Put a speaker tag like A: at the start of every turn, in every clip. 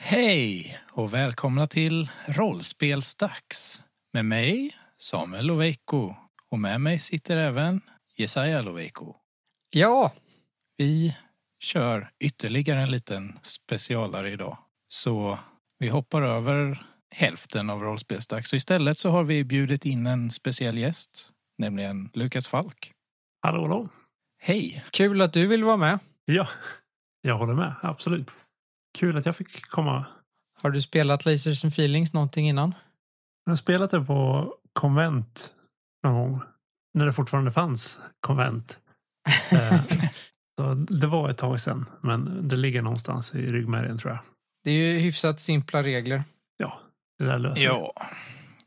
A: Hej och välkomna till Rollspelsdags med mig, Samuel Loveiko. Och med mig sitter även Jesaja Loveiko.
B: Ja,
A: Vi kör ytterligare en liten specialare idag. Så vi hoppar över hälften av Rollspelsdags. Så istället så har vi bjudit in en speciell gäst, nämligen Lukas Falk.
C: Hallå, hallå.
A: Hej!
B: kul att du vill vara med.
C: Ja, jag håller med. Absolut. Kul att jag fick komma.
B: Har du spelat Lasers and Feelings någonting innan?
C: Jag har spelat det på konvent någon gång. När det fortfarande fanns konvent. Eh, Så det var ett tag sedan. Men det ligger någonstans i ryggmärgen tror jag.
B: Det är ju hyfsat simpla regler.
C: Ja, det där löser vi.
A: Ja,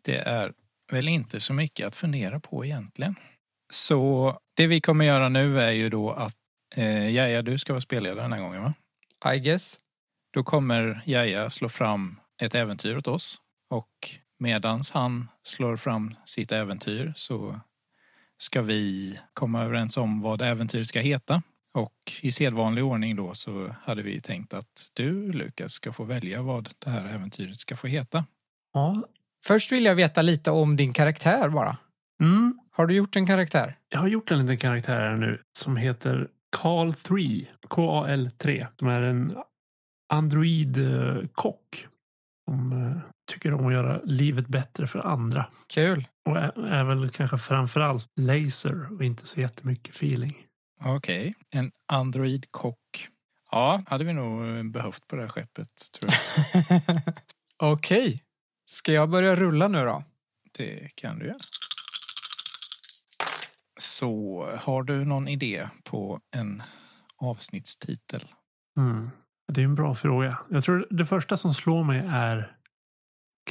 A: det är väl inte så mycket att fundera på egentligen. Så det vi kommer göra nu är ju då att eh, Jaja, du ska vara spelledare den här gången va?
B: I guess.
A: Då kommer Jaja slå fram ett äventyr åt oss och medans han slår fram sitt äventyr så ska vi komma överens om vad äventyret ska heta. Och i sedvanlig ordning då så hade vi tänkt att du, Lukas, ska få välja vad det här äventyret ska få heta.
C: Ja.
B: Först vill jag veta lite om din karaktär bara.
C: Mm.
B: Har du gjort en karaktär?
C: Jag har gjort en liten karaktär här nu som heter Carl 3. K-A-L-3. Som E. är en android-kock. Som eh, tycker om att göra livet bättre för andra.
B: Kul.
C: Och är, är väl kanske framförallt laser och inte så jättemycket feeling.
A: Okej, en Android-kock. Ja, hade vi nog eh, behövt på det här skeppet, tror jag.
B: Okej. Ska jag börja rulla nu då?
A: Det kan du göra. Så, har du någon idé på en avsnittstitel?
C: Mm. Det är en bra fråga. Jag tror det första som slår mig är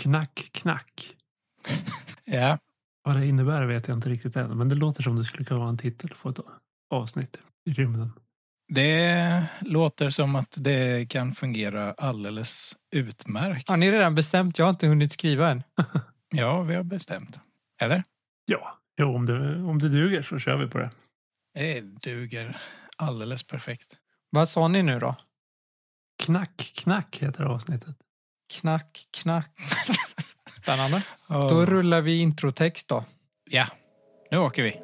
C: knack, knack.
A: Ja,
C: Vad det innebär vet jag inte riktigt än, men det låter som det skulle kunna vara en titel på ett avsnitt i rymden.
A: det låter som att det kan fungera alldeles utmärkt.
B: Har ni redan bestämt? Jag har inte hunnit skriva än.
A: Ja, vi har bestämt. Eller?
C: Ja, jo, om, det, om det duger så kör vi på det.
A: Det duger alldeles perfekt.
B: Vad sa ni nu då?
C: Knack, knack heter avsnittet.
B: Knack, knack. Spännande. Då rullar vi introtext då.
A: Ja, nu åker vi.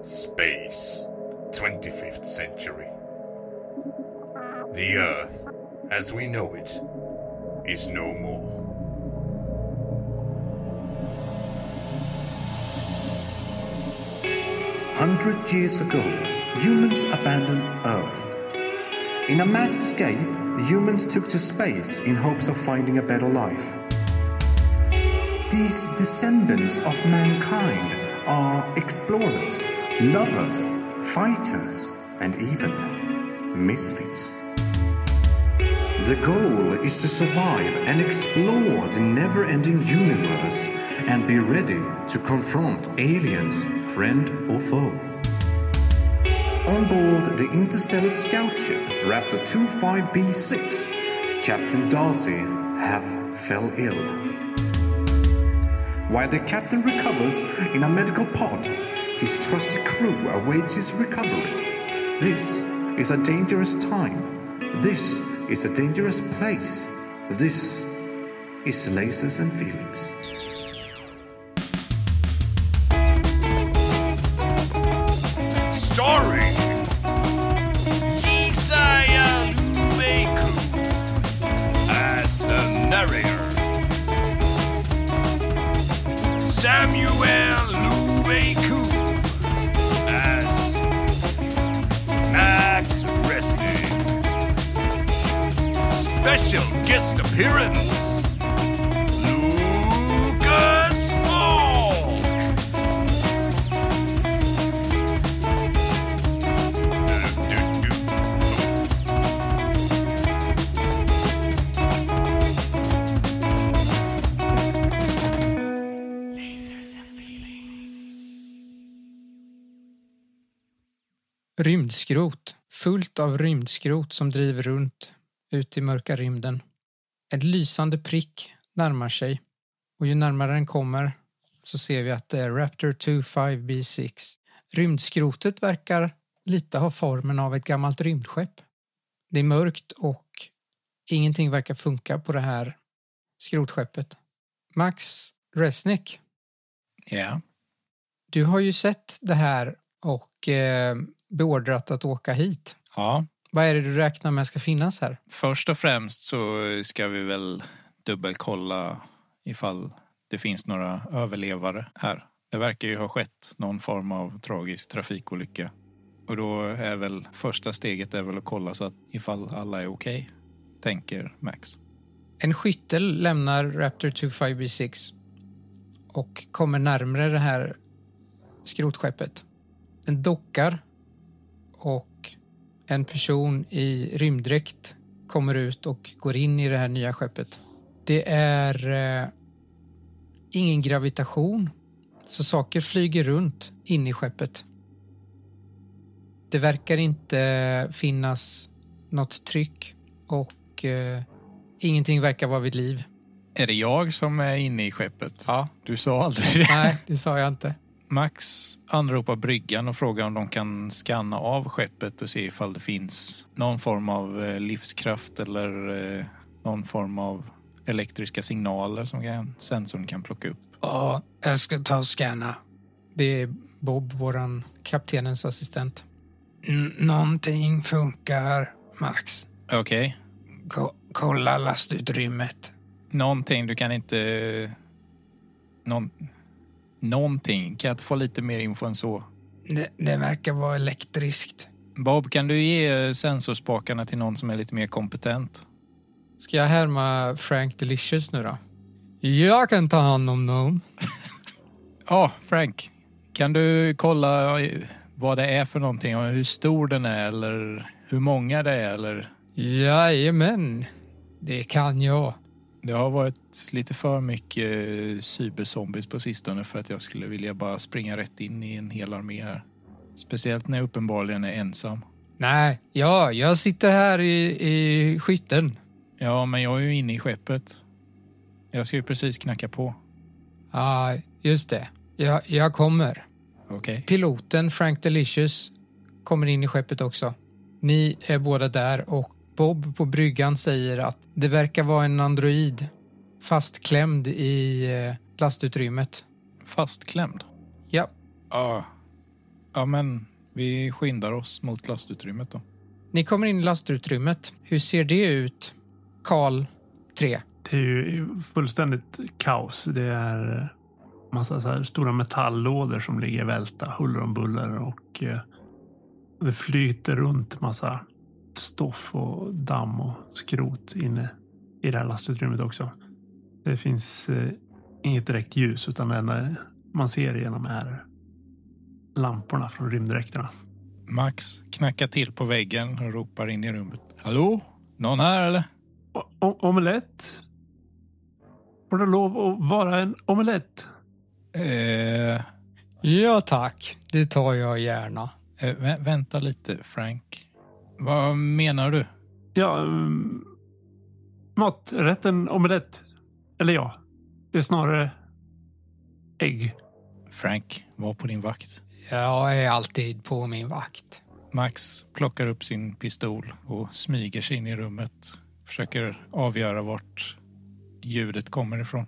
D: Space, 25th century. The Earth, as we know it, is no more.
E: Hundred years ago, humans abandoned Earth. In a mass escape, humans took to space in hopes of finding a better life. These descendants of mankind are explorers, lovers, fighters, and even misfits. The goal is to survive and explore the never ending universe and be ready to confront aliens, friend or foe. On board the interstellar scout ship Raptor 25B6, Captain Darcy have fell ill. While the captain recovers in a medical pod, his trusty crew awaits his recovery. This is a dangerous time. This is a dangerous place. This is lasers and feelings.
D: Starring Isaiah Lubeku as the narrator, Samuel Lubeku as Max Resnick. Special guest appearance. Lucas Falk.
B: Rymdskrot. Fullt av rymdskrot som driver runt ut i mörka rymden. En lysande prick närmar sig och ju närmare den kommer så ser vi att det är Raptor 25B6. Rymdskrotet verkar lite ha formen av ett gammalt rymdskepp. Det är mörkt och ingenting verkar funka på det här skrotskeppet. Max Resnick,
A: Ja.
B: du har ju sett det här och eh, beordrat att åka hit.
A: ja.
B: Vad är det du räknar med ska finnas här?
A: Först och främst så ska vi väl dubbelkolla ifall det finns några överlevare här. Det verkar ju ha skett någon form av tragisk trafikolycka. Och då är väl första steget är väl att kolla så att ifall alla är okej, tänker Max.
B: En skyttel lämnar Raptor 25B6 och kommer närmare det här skrotskeppet. Den dockar och en person i rymddräkt kommer ut och går in i det här nya skeppet. Det är eh, ingen gravitation, så saker flyger runt in i skeppet. Det verkar inte eh, finnas något tryck och eh, Ingenting verkar vara vid liv.
A: Är det jag som är inne i skeppet? Ja. Du sa aldrig det.
B: Nej, det sa jag inte.
A: Max anropar bryggan och frågar om de kan skanna av skeppet och se ifall det finns någon form av eh, livskraft eller eh, någon form av elektriska signaler som kan, sensorn kan plocka upp.
B: Ja, jag ska ta och scanna. Det är Bob, våran kaptenens assistent. någonting funkar, Max.
A: Okej,
B: kolla lastutrymmet.
A: någonting du kan inte... Någon, någonting, kan jag inte få lite mer info än så?
B: Det, verkar vara elektriskt.
A: Bob, kan du ge eh, sensorspakarna till någon som är lite mer kompetent?
B: Ska jag härma Frank Delicious nu då? Jag kan ta hand om någon.
A: Ja, Frank. Kan du kolla eh, vad det är för någonting och hur stor den är eller hur många det är eller?
B: Jajamän, det kan jag.
A: Det har varit lite för mycket eh, cyberzombies på sistone för att jag skulle vilja bara springa rätt in i en hel armé här. Speciellt när jag uppenbarligen är ensam.
B: Nej, ja, jag sitter här i, i skytten.
A: Ja, men jag är ju inne i skeppet. Jag ska ju precis knacka på.
B: Ja, just det. Jag, jag kommer.
A: Okej.
B: Piloten Frank Delicious kommer in i skeppet också. Ni är båda där och Bob på bryggan säger att det verkar vara en android fastklämd i eh, lastutrymmet.
A: Fastklämd?
B: Ja,
A: Ja. Ja, men vi skyndar oss mot lastutrymmet då.
B: ni kommer in i lastutrymmet. Hur ser det ut? Karl 3.
C: Det är ju fullständigt kaos. Det är massa så här stora metalllådor som ligger välta huller om buller och eh, det flyter runt massa stoff och damm och skrot inne i det här lastutrymmet också. Det finns eh, inget direkt ljus utan det enda man ser igenom är lamporna från rymddräkterna.
A: Max knackar till på väggen och ropar in i rummet. Hallå? Någon här eller?
C: O- o- omelett? Får det lov att vara en omelett?
A: Eh,
B: Ja tack, det tar jag gärna.
A: eh, vä- vänta lite, Frank. Vad menar du?
C: Ja, um, maträtten omelett. Eller ja, det är snarare ägg.
A: Frank, var på din vakt.
B: Jag är alltid på min vakt.
A: Max plockar upp sin pistol och smyger sig in i rummet. Försöker avgöra vart ljudet kommer ifrån.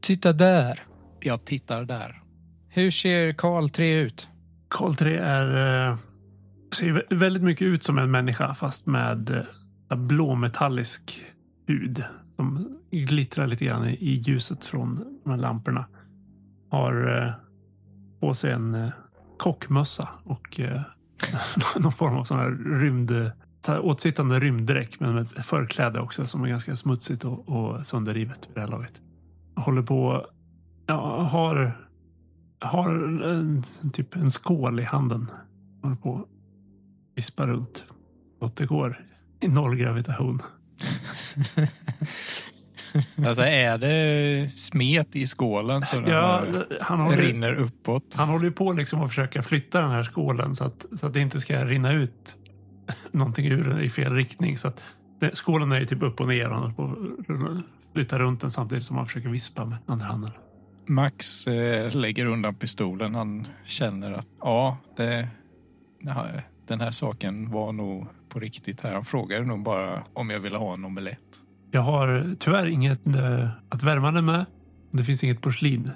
B: Titta där.
A: Jag tittar där.
B: Hur ser Karl 3 ut?
C: Karl 3 är, eh, ser vä- väldigt mycket ut som en människa fast med eh, blåmetallisk hud som glittrar lite grann i- i ljuset från de här lamporna. Har eh, på sig en eh, kockmössa och eh, någon form av sån här rymd så här åtsittande rymddräkt men med ett förkläde också som är ganska smutsigt och, och sönderrivet vid det här laget. Håller på, ja, har har en, en- typ en skål i handen. Håller på och vispar runt. Så det går i noll gravitation.
A: Alltså är det smet i skålen så den
C: Ja,
A: eh,
C: han, håller,
A: rinner uppåt?
C: han håller ju på liksom att försöka flytta den här skålen så att, så att det inte ska rinna ut någonting ur den i fel riktning. Så att det, skålen är ju typ upp och ner och han håller på att rulla- flytta runt den samtidigt som han försöker vispa med andra handen.
A: Max eh, lägger undan pistolen. Han känner att ja, det, ja, den här saken var nog på riktigt här. Han frågade nog bara om jag ville ha en omelett.
C: Jag har tyvärr inget eh, att värma den med. Det finns inget porslin.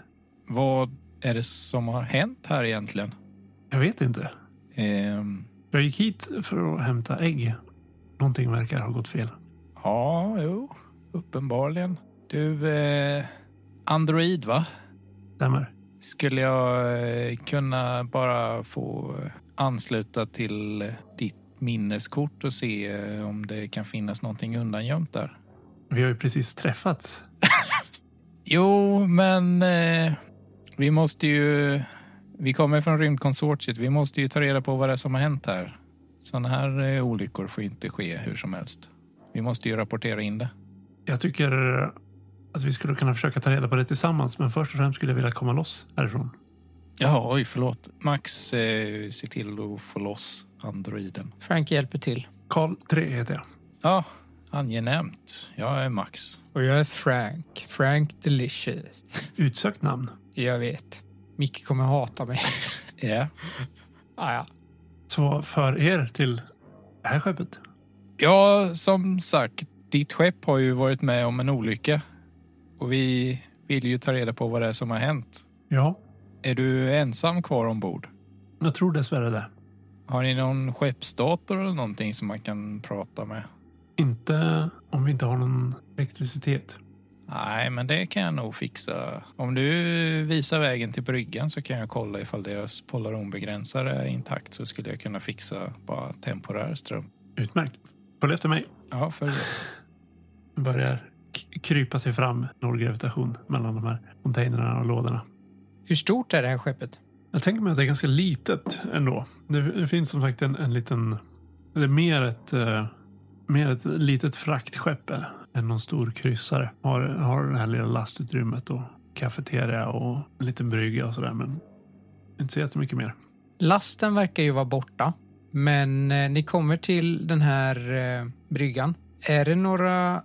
A: Vad är det som har hänt här egentligen?
C: Jag vet inte.
A: Ehm,
C: Jag gick hit för att hämta ägg. Någonting verkar ha gått fel.
A: ja, jo, uppenbarligen. Du, eh, Android va?
C: Stämmer.
A: Skulle jag eh, kunna bara få ansluta till eh, ditt minneskort och se eh, om det kan finnas någonting undangömt där?
C: Vi har ju precis träffats.
A: Jo, men eh, vi måste ju... Vi kommer från rymdkonsortiet. Vi måste ju ta reda på vad det är som har hänt här. Sådana här eh, olyckor får inte ske hur som helst. Vi måste ju rapportera in det.
C: Jag tycker eh, att vi skulle kunna försöka ta reda på det tillsammans. Men först och främst skulle jag vilja komma loss härifrån.
A: Ja, oj, förlåt. Max, eh, se till att få loss androiden.
B: Frank hjälper till.
C: Karl 3 heter jag.
A: Ja, angenämt. Jag är Max.
B: Och jag är Frank. Frank Delicious.
C: Utsökt namn.
B: Jag vet. Micke kommer hata mig.
A: Ja.
B: ah, ja.
C: Så för er till det här skeppet.
A: Ja, som sagt, ditt skepp har ju varit med om en olycka. Och vi vill ju ta reda på vad det är som har hänt.
C: Ja,
A: Är du ensam kvar ombord?
C: jag tror dessvärre det.
A: Har ni någon skeppsdator eller någonting som man kan prata med?
C: Inte om vi inte har någon elektricitet.
A: Nej, men det kan jag nog fixa. Om du visar vägen till bryggan så kan jag kolla ifall deras polaronbegränsare är intakt så skulle jag kunna fixa bara temporär ström.
C: Utmärkt. Följ efter mig.
A: Ja, för
C: Börjar k- krypa sig fram noll gravitation mellan de här containrarna och lådorna.
B: Hur stort är det här skeppet?
C: Jag tänker mig att det är ganska litet ändå. Det, det finns som sagt en, en liten... Det är mer ett, eh, mer ett litet fraktskepp eh, än någon stor kryssare. Har, har det här lilla lastutrymmet och kafeteria och en liten brygga och sådär. Men inte så jättemycket mer.
B: Lasten verkar ju vara borta. Men eh, ni kommer till den här eh, bryggan. Är det några...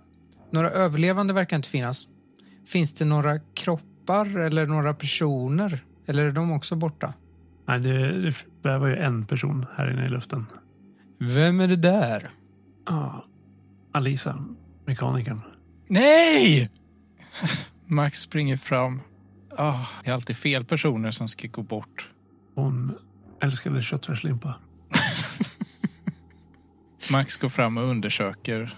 B: Några överlevande verkar inte finnas. Finns det några kroppar eller några personer? Eller är de också borta?
C: Nej, det, det var ju en person här inne i luften.
B: Vem är det där?
C: Ah, Alisa, mekanikern.
A: Nej! Max springer fram. Ah, det är alltid fel personer som ska gå bort.
C: Hon älskade köttfärslimpa.
A: Max går fram och undersöker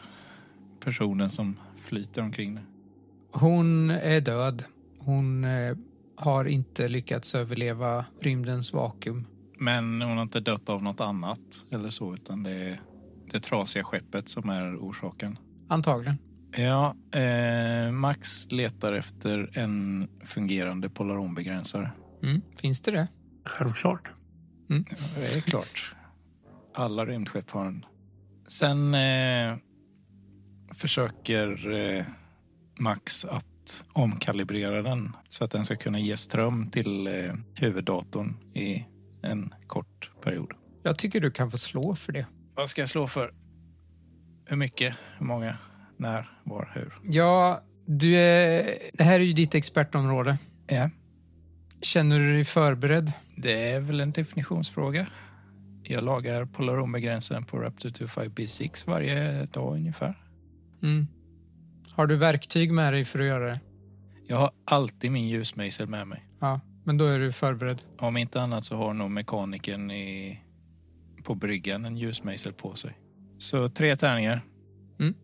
A: personen som flyter omkring. där.
B: Hon är död. Hon eh, har inte lyckats överleva rymdens vakuum.
A: Men hon har inte dött av något annat eller så, utan det är det trasiga skeppet som är orsaken.
B: Antagligen.
A: Ja, eh, Max letar efter en fungerande polaronbegränsare.
B: Mm. Finns det det?
C: Självklart.
A: Det är klart. Alla rymdskepp har en. Sen eh, försöker eh, Max att omkalibrera den så att den ska kunna ge ström till eh, huvuddatorn i en kort period.
B: Jag tycker du kan få slå för det.
A: Vad ska jag slå för? Hur mycket? Hur många? När? Var? Hur?
B: Ja, du är... Det här är ju ditt expertområde.
A: Ja.
B: Känner du dig förberedd?
A: Det är väl en definitionsfråga. Jag lagar polaronbegränsaren på Raptor 25B6 varje dag ungefär.
B: Mm. Har du verktyg med dig för att göra det?
A: Jag har alltid min ljusmejsel med mig.
B: Ja, men då är du förberedd.
A: Om inte annat så har nog mekanikern i, på bryggan en ljusmejsel på sig. Så tre tärningar.
B: Mm.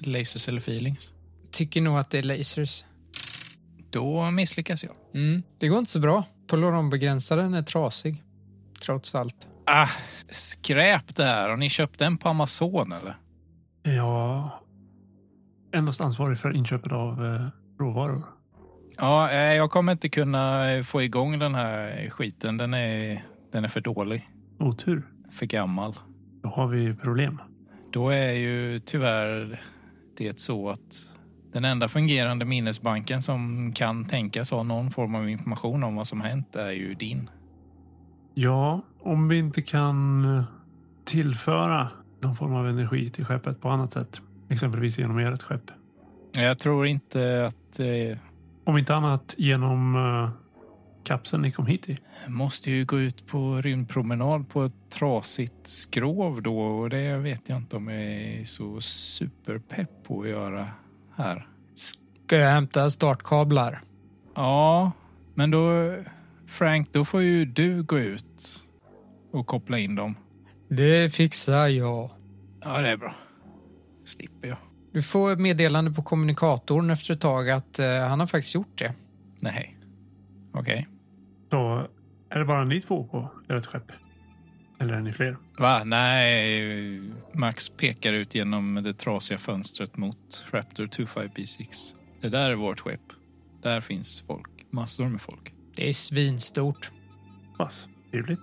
A: Lasers eller feelings.
B: Tycker nog att det är lasers.
A: Då misslyckas jag.
B: Mm. Det går inte så bra. Polaronbegränsaren är trasig. Trots allt.
A: Ah, skräp det här. Har ni köpt den på Amazon eller?
C: Jag endast ansvarig för inköpet av eh, råvaror.
A: Ja, eh, jag kommer inte kunna eh, få igång den här skiten. Den är, den är för dålig.
C: Otur.
A: För gammal.
C: Då har vi problem.
A: Då är ju tyvärr det så att den enda fungerande minnesbanken som kan tänkas ha någon form av information om vad som hänt är ju din.
C: Ja, om vi inte kan eh, tillföra någon form av energi till skeppet på annat sätt. Exempelvis genom ert skepp.
A: Jag tror inte att eh,
C: Om inte annat genom eh, kapseln ni kom hit i.
A: Måste ju gå ut på rymdpromenad på ett trasigt skrov då och det vet jag inte om jag är så superpepp på att göra här.
B: Ska jag hämta startkablar?
A: Ja, men då Frank, då får ju du gå ut och koppla in dem.
B: Det fixar jag.
A: Ja, det är bra. Slipper jag.
B: Du får ett meddelande på kommunikatorn efter ett tag att eh, han har faktiskt gjort det.
A: Nej. Okej.
C: Så är det bara ni två på ert skepp? Eller är ni fler?
A: Va? Nej. Max pekar ut genom det trasiga fönstret mot Raptor 25B6. Det där är vårt skepp. Där finns folk. Massor med folk.
B: Det är svinstort.
C: Pass. Trevligt.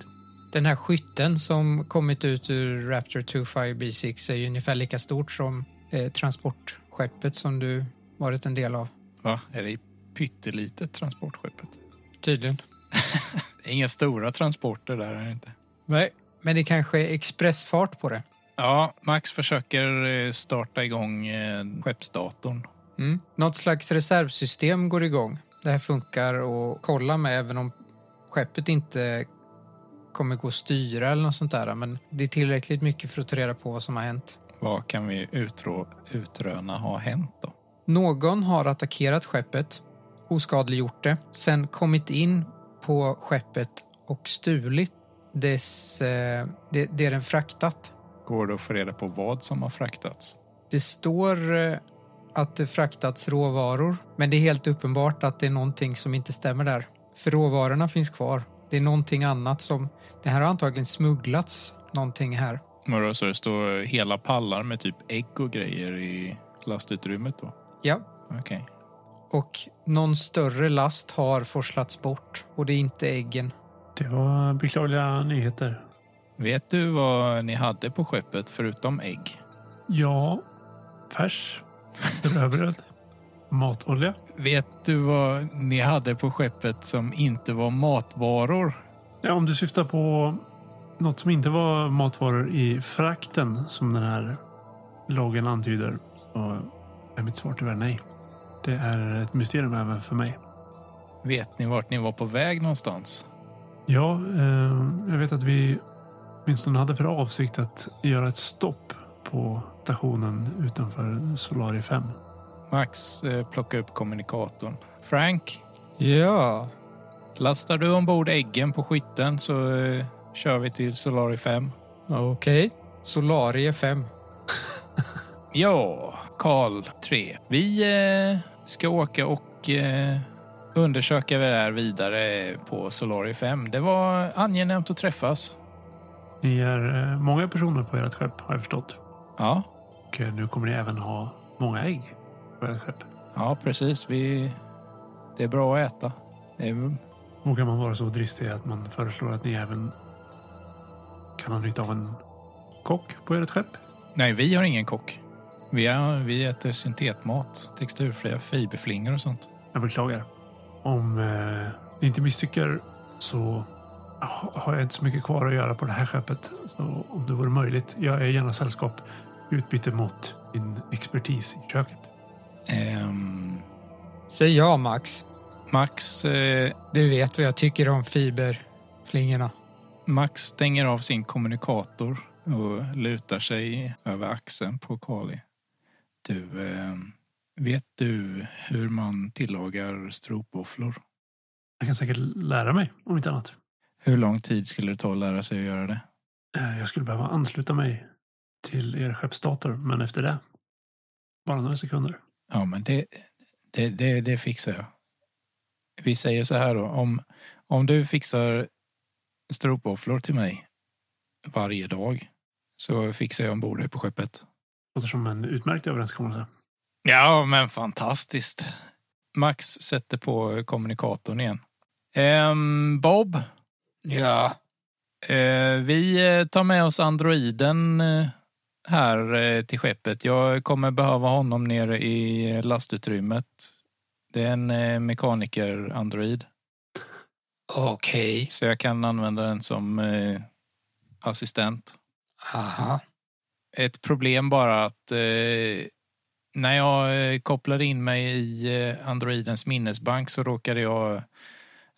B: Den här skytten som kommit ut ur Raptor 25B6 är ju ungefär lika stort som eh, transportskeppet som du varit en del av.
A: Va? Är det pyttelitet transportskeppet?
B: Tydligen.
A: Det är Inga stora transporter där är det inte.
B: Nej. Men det kanske är expressfart på det.
A: Ja, Max försöker eh, starta igång eh, skeppsdatorn.
B: Mm. Något slags reservsystem går igång. Det här funkar att kolla med även om skeppet inte kommer gå att styra eller något sånt där. Men det är tillräckligt mycket för att ta reda på vad som har hänt.
A: Vad kan vi utrå, utröna har hänt då?
B: Någon har attackerat skeppet, oskadliggjort det, sen kommit in på skeppet och stulit dess, eh, det, det den fraktat.
A: Går det att få reda på vad som har fraktats?
B: Det står eh, att det fraktats råvaror, men det är helt uppenbart att det är någonting som inte stämmer där. För råvarorna finns kvar. Det är någonting annat som... Det här har antagligen smugglats någonting här.
A: Men då, så det står hela pallar med typ ägg och grejer i lastutrymmet då?
B: Ja,
A: Okej.
B: och någon större last har forslats bort och det är inte äggen.
C: Det var beklagliga nyheter.
A: Vet du vad ni hade på skeppet förutom ägg?
C: Ja, färs, rödbröd, matolja.
A: Vet du vad ni hade på skeppet som inte var matvaror?
C: Ja, om du syftar på något som inte var matvaror i frakten som den här lagen antyder så är mitt svar tyvärr nej. Det är ett mysterium även för mig.
A: Vet ni vart ni var på väg någonstans?
C: Ja, eh, jag vet att vi åtminstone hade för avsikt att göra ett stopp på stationen utanför Solari 5.
A: Max eh, plockar upp kommunikatorn. Frank,
B: Ja,
A: lastar du ombord äggen på skytten så eh, kör vi till Solari 5.
B: okej. Solarie 5.
A: Ja, Karl 3. Vi eh, ska åka och eh, undersöka det här vidare på Solari 5. Det var angenämt att träffas.
C: Ni är eh, många personer på ert skepp har jag förstått.
A: Ja,
C: Och eh, nu kommer ni även ha många ägg på ert skepp.
A: ja precis. Vi, det är bra att äta. Det är,
C: Vågar man vara så dristig att man föreslår att ni även kan ha nytta av en kock på ert skepp?
A: nej, vi har ingen kock. Vi, har, vi äter syntetmat, texturfria fiberflingor och sånt.
C: Jag beklagar. Om eh, ni inte misstycker så ha- har jag inte så mycket kvar att göra på det här skeppet. Så om det vore möjligt, jag är gärna sällskap i utbyte mot din expertis i köket.
A: Ehm,
B: Säg ja, Max.
A: Max, eh,
B: Du vet vad jag tycker om fiberflingorna.
A: Max stänger av sin kommunikator och lutar sig över axeln på Kali. Du, eh, vet du hur man tillagar stropvåfflor?
C: Jag kan säkert lära mig, om inte annat.
A: Hur lång tid skulle det ta att lära sig att göra det?
C: Eh, Jag skulle behöva ansluta mig till er skeppsdator, men efter det, bara några sekunder.
A: Ja, men det, det, det, det fixar jag. Vi säger så här då, om, om du fixar stropvåfflor till mig varje dag så fixar jag ombord dig på skeppet.
C: Låter som en utmärkt överenskommelse.
A: Ja, men fantastiskt. Max sätter på kommunikatorn igen. Ehm, Bob,
B: Ja.
A: eh, vi eh, tar med oss androiden eh, här eh, till skeppet. Jag kommer behöva honom nere i eh, lastutrymmet. Det är en eh, mekaniker-android,
B: Okej.
A: så jag kan använda den som eh, assistent.
B: Aha.
A: Ett problem bara att eh, När jag eh, kopplade in mig i eh, Androidens minnesbank så råkade jag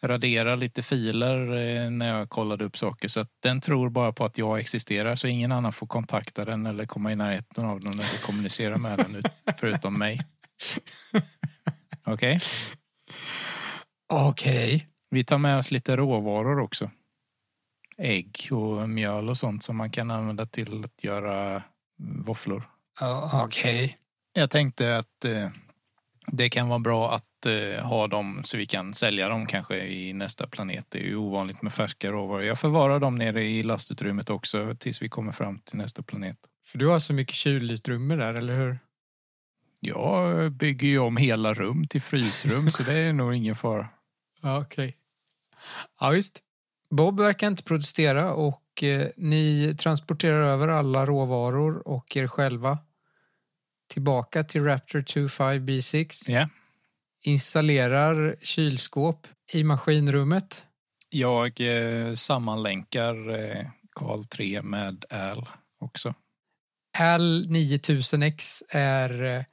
A: radera lite filer eh, när jag kollade upp saker. Så att den tror bara på att jag existerar så ingen annan får kontakta den eller komma i närheten av den eller kommunicera med den ut- förutom mig. Okej,
B: Okej.
A: vi tar med oss lite råvaror också. Ägg och mjöl och sånt som man kan använda till att göra våfflor.
B: Ja, Okej.
A: Jag tänkte att eh, det kan vara bra att eh, ha dem så vi kan sälja dem kanske i nästa planet. Det är ju ovanligt med färska råvaror. Jag förvarar dem nere i lastutrymmet också tills vi kommer fram till nästa planet.
B: För du har så mycket kylytrymme där, eller hur?
A: Jag bygger ju om hela rum till frysrum så det är nog ingen fara.
B: Ja, okej. Ja, visst. Bob verkar inte protestera och eh, ni transporterar över alla råvaror och er själva tillbaka till Raptor 25B6.
A: Ja.
B: Installerar kylskåp i maskinrummet.
A: Jag eh, sammanlänkar eh, Karl 3 med Al också.
B: HAL 9000X är eh,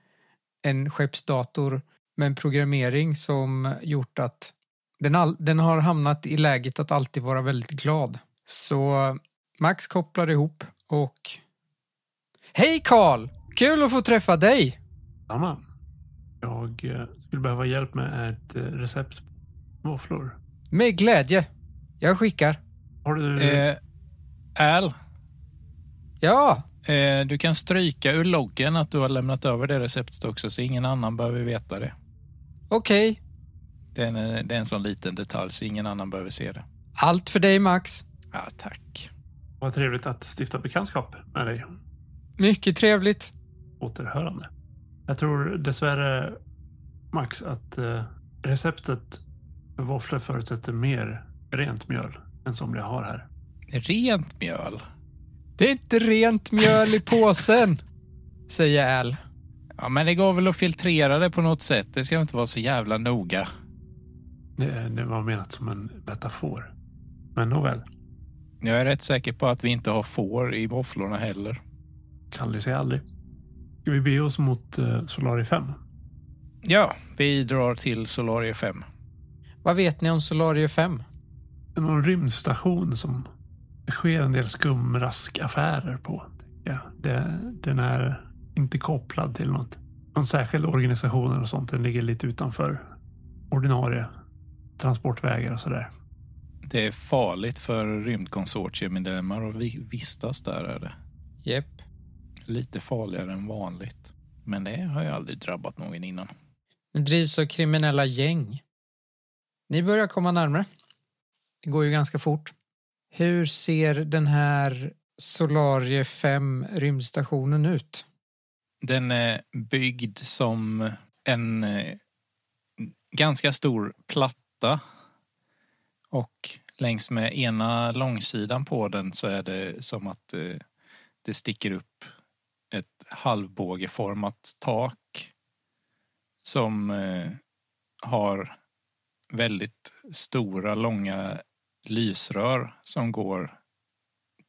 B: en skeppsdator med en programmering som gjort att den, all, den har hamnat i läget att alltid vara väldigt glad. Så Max kopplar ihop och... Hej Karl! Kul att få träffa dig!
C: Samma. Jag eh, skulle behöva hjälp med ett eh, recept på våfflor.
B: Med glädje. Jag skickar.
C: Har du...
A: Eh, Al,
B: Ja,
A: Eh, Du kan stryka ur loggen att du har lämnat över det receptet också så ingen annan behöver veta det.
B: okej.
A: Det är en, det är en sån liten detalj så ingen annan behöver se det.
B: Allt för dig Max.
A: Ja, tack.
C: Vad trevligt att stifta bekantskap med dig.
B: Mycket trevligt.
C: Återhörande. Jag tror dessvärre, Max, att eh, receptet för våfflor förutsätter mer rent mjöl än som jag har här.
A: Rent mjöl?
B: Det är inte rent mjöl i påsen, säger Al.
A: Ja, men det går väl att filtrera det på något sätt. Det ska inte vara så jävla noga.
C: Det, det var menat som en metafor. Men nåväl,
A: Jag är rätt säker på att vi inte har får i våfflorna heller.
C: Kalle sig aldrig. Ska vi bege oss mot eh, Solari 5?
A: Ja, vi drar till Solaria 5.
B: Vad vet ni om Solario 5?
C: Det är någon rymdstation som det sker en del skumraskaffärer på. Ja, det, den är inte kopplad till något. Någon särskild organisation eller sånt. Den ligger lite utanför ordinarie transportvägar och sådär.
A: Det är farligt för rymdkonsortiemedlemmar att vi- vistas där. Är det.
B: Jepp.
A: Lite farligare än vanligt. Men det har ju aldrig drabbat någon innan.
B: Den drivs av kriminella gäng. Ni börjar komma närmare. Det går ju ganska fort. Hur ser den här Solarie 5 rymdstationen ut?
A: Den är byggd som en eh, ganska stor platta. Och längs med ena långsidan på den så är det som att eh, det sticker upp ett halvbågeformat tak som eh, har väldigt stora, långa lysrör som går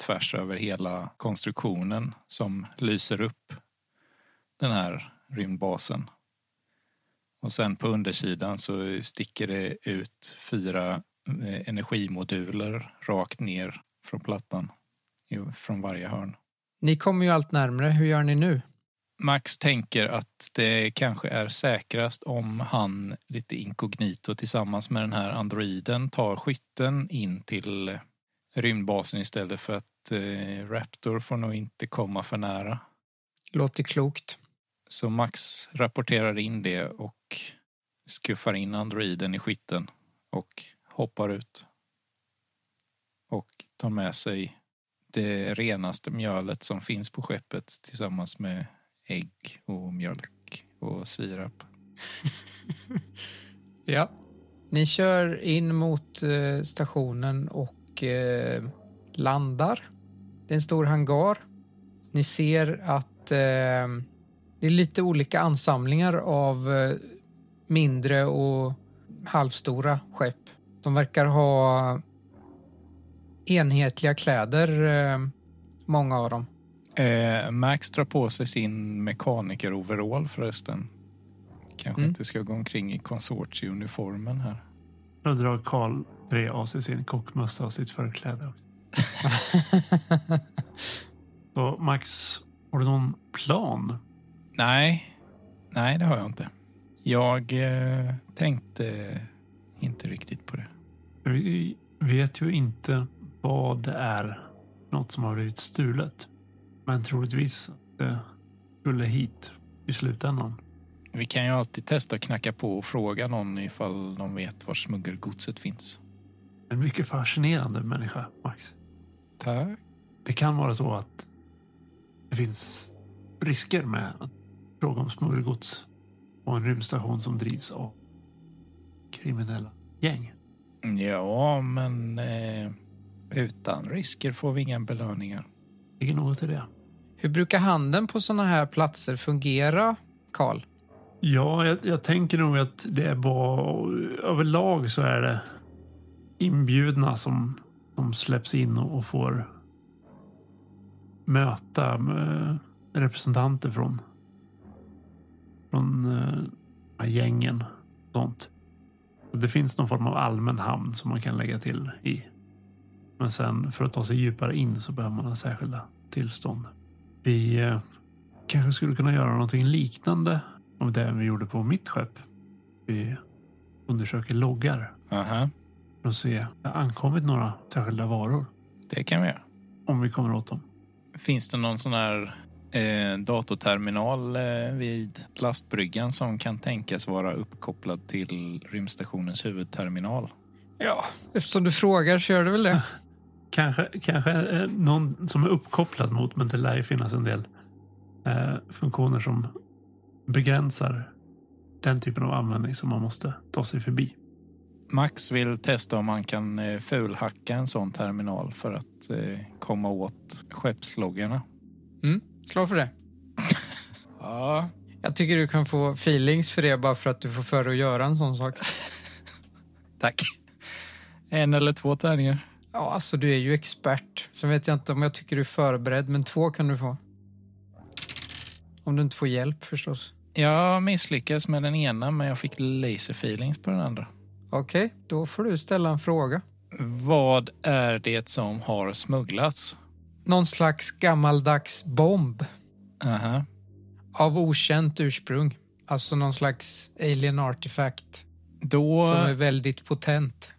A: tvärs över hela konstruktionen som lyser upp den här rymdbasen. Och sen på undersidan så sticker det ut fyra eh, energimoduler rakt ner från plattan, i- från varje hörn.
B: Ni kommer ju allt närmare. Hur gör ni nu?
A: Max tänker att det kanske är säkrast om han lite inkognito tillsammans med den här androiden tar skytten in till rymdbasen istället för att eh, Raptor får nog inte komma för nära.
B: Låter klokt.
A: Så Max rapporterar in det och skuffar in androiden i skytten och hoppar ut. Och tar med sig det renaste mjölet som finns på skeppet tillsammans med ägg och mjölk och sirap.
B: Ja. Ni kör in mot eh, stationen och eh, landar. Det är en stor hangar. Ni ser att eh, det är lite olika ansamlingar av eh, mindre och halvstora skepp. De verkar ha enhetliga kläder, eh, många av dem.
A: Eh, Max drar på sig sin mekaniker-overall förresten. Kanske
B: Mm.
A: inte ska gå omkring i konsortieuniformen här.
C: Då drar Karl tre av sig sin kockmössa och sitt förkläde. också. Så Max, har du någon plan?
A: Nej, nej det har jag inte. Jag eh, tänkte inte riktigt på det.
C: Vi vet ju inte vad det är. Något som har blivit stulet. Men troligtvis att det skulle hit i slutändan.
A: Vi kan ju alltid testa att knacka på och fråga någon ifall de vet var smuggelgodset finns.
C: En mycket fascinerande människa, Max.
A: Tack.
C: Det kan vara så att det finns risker med att fråga om smuggelgods på en rymdstation som drivs av kriminella gäng.
A: Ja, men eh, utan risker får vi inga belöningar.
C: Ligger något i det?
B: Hur brukar handeln på såna här platser fungera, Karl?
C: Ja, jag, jag tänker nog att det var överlag så är det inbjudna som, som släpps in och, och får möta eh, representanter från, från eh, de här gängen. och Sånt. Det finns någon form av allmän hamn som man kan lägga till i. Men sen för att ta sig djupare in så behöver man ha särskilda tillstånd. Vi eh, kanske skulle kunna göra någonting liknande om det vi gjorde på mitt skepp. Vi undersöker loggar
A: Aha,
C: för att se om det har ankommit några särskilda varor.
A: det kan vi göra.
C: Om vi kommer åt dem.
A: Finns det någon sån här eh, datorterminal eh, vid lastbryggan som kan tänkas vara uppkopplad till rymdstationens huvudterminal?
B: Ja, eftersom du frågar så gör du väl det.
C: Kanske, kanske eh, någon som är uppkopplad mot, men det lär ju finnas en del eh, funktioner som begränsar den typen av användning som man måste ta sig förbi.
A: Max vill testa om han kan eh, fulhacka en sån terminal för att eh, komma åt skeppsloggarna.
B: Mm, slå för det.
A: Ja.
B: Jag tycker du kan få feelings för det bara för att du får för dig att göra en sån sak.
A: Tack. En eller två tärningar.
B: Ja, alltså du är ju expert. Sen vet jag inte om jag tycker du är förberedd, men två kan du få. Om du inte får hjälp förstås.
A: Jag misslyckades med den ena, men jag fick laser feelings på den andra.
B: Okej, då får du ställa en fråga.
A: Vad är det som har smugglats?
B: Någon slags gammaldags bomb
A: Aha.
B: av okänt ursprung. Alltså någon slags alien artifact
A: Då...
B: som är väldigt potent.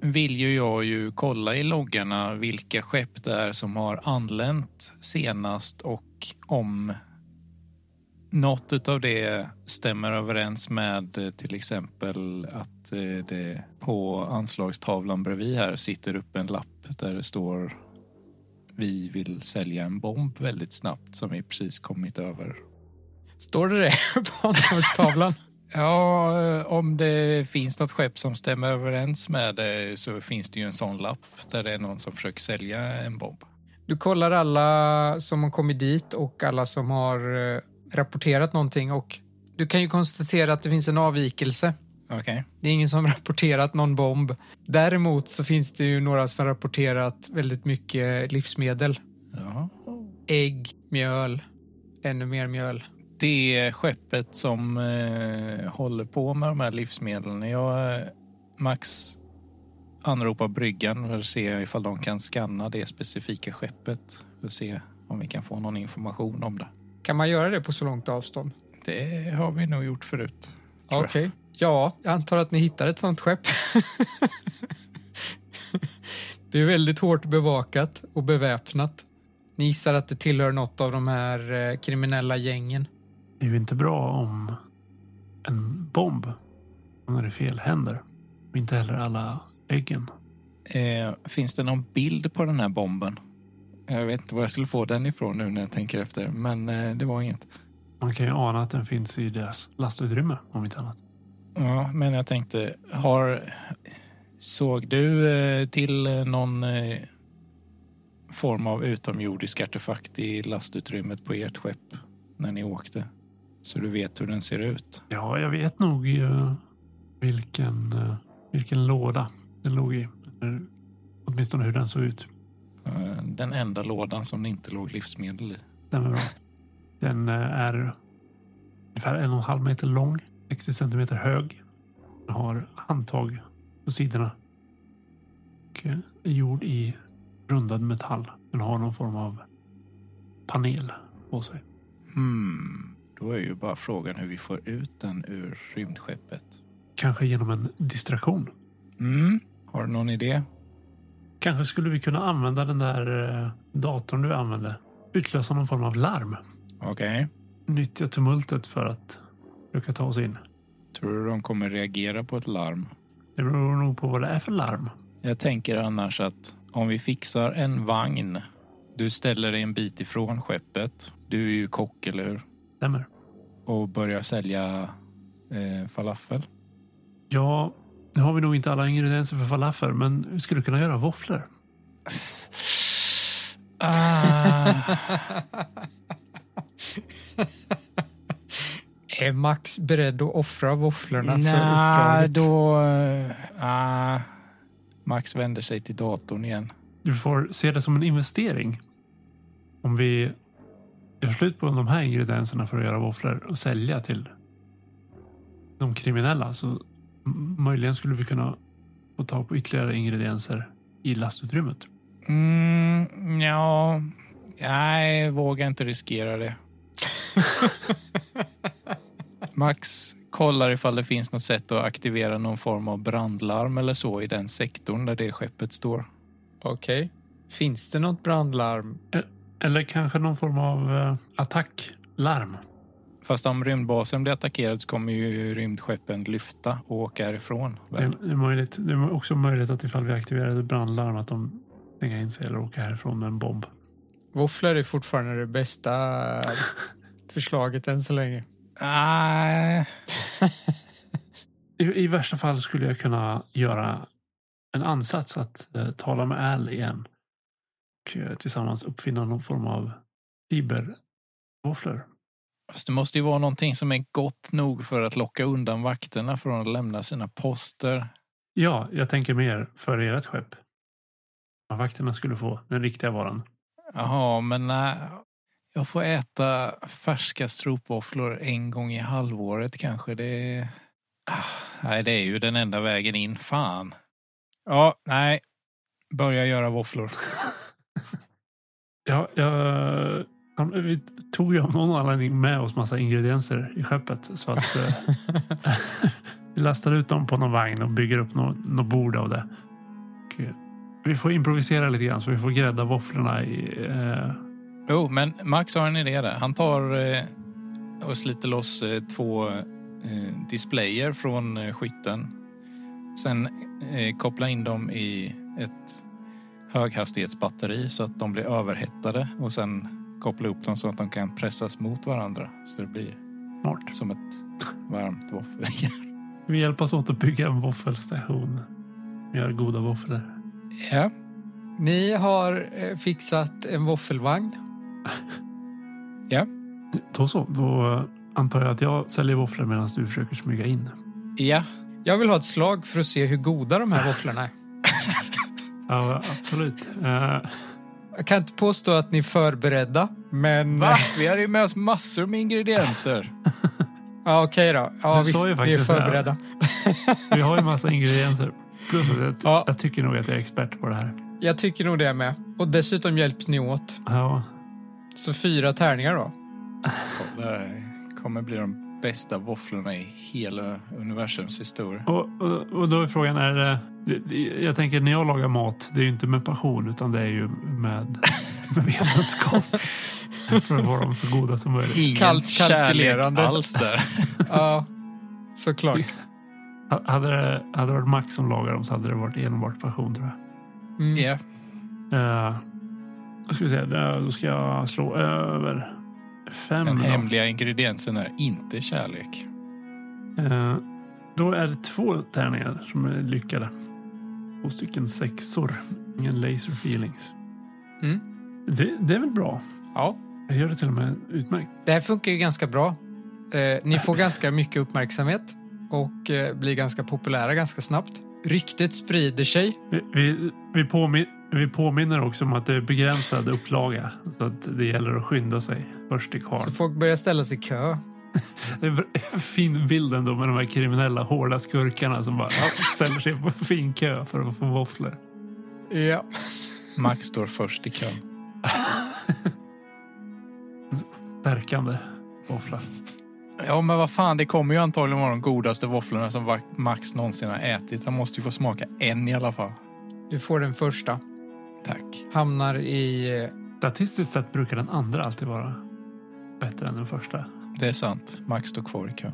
A: vill ju jag ju kolla i loggarna vilka skepp det är som har anlänt senast och om något utav det stämmer överens med eh, till exempel att eh, det på anslagstavlan bredvid här sitter upp en lapp där det står vi vill sälja en bomb väldigt snabbt som vi precis kommit över.
B: Står det det på anslagstavlan?
A: Ja, eh, om det finns något skepp som stämmer överens med det så finns det ju en sån lapp där det är någon som försöker sälja en bomb.
B: Du kollar alla som har kommit dit och alla som har eh, rapporterat någonting och du kan ju konstatera att det finns en avvikelse.
A: Okej.
B: Det är ingen som rapporterat någon bomb. Däremot så finns det ju några som rapporterat väldigt mycket livsmedel.
A: Ja.
B: Ägg, mjöl, ännu mer mjöl.
A: Det skeppet som eh, håller på med de här livsmedlen. Jag, eh, Max anropar bryggan för att se ifall de kan scanna det specifika skeppet. För att se om vi kan få någon information om det.
B: Kan man göra det på så långt avstånd?
A: Det har vi nog gjort förut.
B: Okej. Ja, jag antar att ni hittar ett sånt skepp. det är väldigt hårt bevakat och beväpnat. Ni gissar att det tillhör något av de här eh, kriminella gängen.
C: Det är ju inte bra om en bomb hamnar i fel händer. Och inte heller alla äggen.
A: Eh, finns det någon bild på den här bomben? Jag vet inte var jag skulle få den ifrån nu när jag tänker efter, men eh, det var inget.
C: Man kan ju ana att den finns i deras lastutrymme om inte annat.
A: Ja, men jag tänkte, har... Såg du eh, till eh, någon eh, form av utomjordisk artefakt i lastutrymmet på ert skepp när ni åkte? Så du vet hur den ser ut?
C: Ja, jag vet nog eh, vilken, eh, vilken låda den låg i. Eller åtminstone hur den såg ut.
A: Eh, den enda lådan som det inte låg livsmedel i.
C: Den är bra. Den eh, är ungefär en och en halv meter lång, 60 centimeter hög. Den har handtag på sidorna. Och eh, är gjord i rundad metall. Den har någon form av panel på sig.
A: Hmm. Då är ju bara frågan hur vi får ut den ur rymdskeppet.
C: Kanske genom en distraktion.
A: Mm. Har du någon idé?
C: Kanske skulle vi kunna använda den där eh, datorn du använde. Utlösa någon form av larm.
A: Okej.
C: Nyttja tumultet för att försöka ta oss in.
A: Tror du de kommer reagera på ett larm?
C: Det beror nog på vad det är för larm.
A: Jag tänker annars att om vi fixar en vagn. Du ställer dig en bit ifrån skeppet. Du är ju kock, eller hur?
C: Stämmer.
A: Och börjar sälja eh, falafel.
C: Ja, nu har vi nog inte alla ingredienser för falafel, men vi skulle kunna göra våfflor.
A: Ah,
B: Är Max beredd att offra våfflorna för
A: Nej,
B: uppdraget?
A: då... ah. Max vänder sig till datorn igen.
C: Du får se det som en investering. Om vi gör slut på de här ingredienserna för att göra våfflor och sälja till de kriminella så m- möjligen skulle vi kunna få tag på ytterligare ingredienser i lastutrymmet.
A: Mm, ja... Nej, våga inte riskera det. Max kollar ifall det finns något sätt att aktivera någon form av brandlarm eller så i den sektorn där det skeppet står.
B: Okej. Finns det något brandlarm?
C: Eller kanske någon form av eh, attacklarm.
A: Fast om rymdbasen blir attackerad så kommer ju rymdskeppen lyfta och åka härifrån.
C: Det
A: väl?
C: är, det är möjligt. Det är också möjligt att ifall vi aktiverar ett brandlarm att de stänger in sig eller åker härifrån med en bomb.
B: Våfflor är fortfarande det bästa förslaget än så länge.
A: Nej,
C: I, I värsta fall skulle jag kunna göra en ansats att eh, tala med Al igen. Och eh, tillsammans uppfinna någon form av fibervåfflor.
A: Fast det måste ju vara någonting som är gott nog för att locka undan vakterna från att lämna sina poster.
C: Ja, jag tänker mer för ert skepp. Vad Vakterna skulle få den riktiga varan.
A: Jaha, men nej. Jag får äta färska stropvåfflor en gång i halvåret kanske. Det är... Ah, nej, det är ju den enda vägen in. Fan. Ja, nej. Börja göra våfflor.
C: Ja, jag, han- vi tog ju av någon anledning med oss massa ingredienser i skeppet. Så att eh, vi lastar ut dem på någon vagn och bygger upp något nå bord av det. Och, eh, vi får improvisera lite grann så vi får grädda våfflorna i... Eh,
A: Jo, men Max har en idé där. Han tar eh, och sliter loss eh, två eh, displayer från eh, skytten. Sen eh, kopplar in dem i ett höghastighetsbatteri så att de blir överhettade och sen koppla upp dem så att de kan pressas mot varandra så det blir
C: smart.
A: som ett varmt våffel.
C: Vi hjälpas åt att bygga en våffelstation. Vi gör goda våfflor.
A: ja.
B: Ni har eh, fixat en våffelvagn.
C: Då så. Då eh, antar jag att jag säljer våfflor medan du försöker smyga in.
A: Ja.
B: Jag vill ha ett slag för att se hur goda de här våfflorna är.
C: Ja, absolut. Eh,
B: Jag kan inte påstå att ni är förberedda, men...
A: Va? Vi har ju med oss massor med ingredienser.
B: Ja, okej då. Ja,
C: Du
B: visst,
C: sa ju
B: vi är
C: faktiskt det här.
B: förberedda.
C: Vi har ju massa ingredienser. Plus att jag,
B: Ja.
C: jag tycker nog att jag är expert på det här.
B: Jag tycker nog det med. Och dessutom hjälps ni åt.
C: Ja,
B: Så fyra tärningar då.
A: Det här kommer bli de bästa våfflorna i hela universums historia.
C: och, och, och då är frågan, är det, det- jag tänker när jag lagar mat, det är ju inte med passion utan det är ju med, med vetenskap. För att få dem så goda som möjligt.
A: Ingen
B: Kallt
A: kärlek
B: kalkylerande.
A: alls där.
B: Ja, såklart.
C: Ha- Hade det, hade det varit Max som lagade dem så hade det varit enbart passion tror jag.
B: Mm.
A: Ja.
C: Uh, då ska vi se, eh, då ska jag slå över fem.
A: Den
C: då.
A: hemliga ingrediensen är inte kärlek.
C: Eh, Då är det två tärningar som är lyckade. Två stycken sexor. Ingen laser feelings.
B: Mm.
C: Det, det är väl bra.
B: Ja.
C: Jag gör det till och med utmärkt.
B: Det här funkar ju ganska bra. Eh, ni får ganska mycket uppmärksamhet och eh, blir ganska populära ganska snabbt. Ryktet sprider sig.
C: Vi, vi, vi påmin- Vi påminner också om att det är begränsad upplaga. Så att det gäller att skynda sig först till
B: Så
C: kvarn.
B: folk börjar ställa sig i kö.
C: Det är en fin bild ändå med de här kriminella hårda skurkarna som bara ja, ställer sig på en fin kö för att få våfflor.
B: Ja.
A: Max står först i kön.
C: Stärkande våffla.
A: Ja, men vad fan, det kommer ju antagligen vara de godaste våfflorna som Va- Max någonsin har ätit. Han måste ju få smaka en i alla fall.
B: Du får den första.
A: Tack.
B: Hamnar i... eh,
C: Statistiskt sett brukar den andra alltid vara bättre än den första.
A: Det är sant. Max står kvar i kön.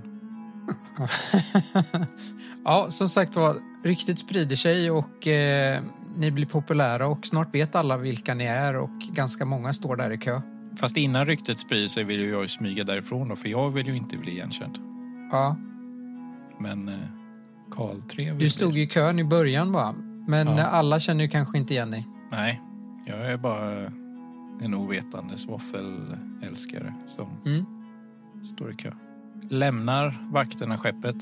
B: ja, som sagt var, ryktet sprider sig och eh, ni blir populära och snart vet alla vilka ni är och ganska många står där i kö.
A: Fast innan ryktet sprider sig vill ju jag ju smyga därifrån då, för jag vill ju inte bli igenkänd.
B: Ja,
A: Men eh, Karl 3 vill
B: du stod
A: bli.
B: ju i kön i början bara, men
A: Ja.
B: eh, alla känner ju kanske inte igen dig.
A: Nej, jag är bara en ovetandes våffelälskare som
B: Mm.
A: står i kö. Lämnar vakterna skeppet.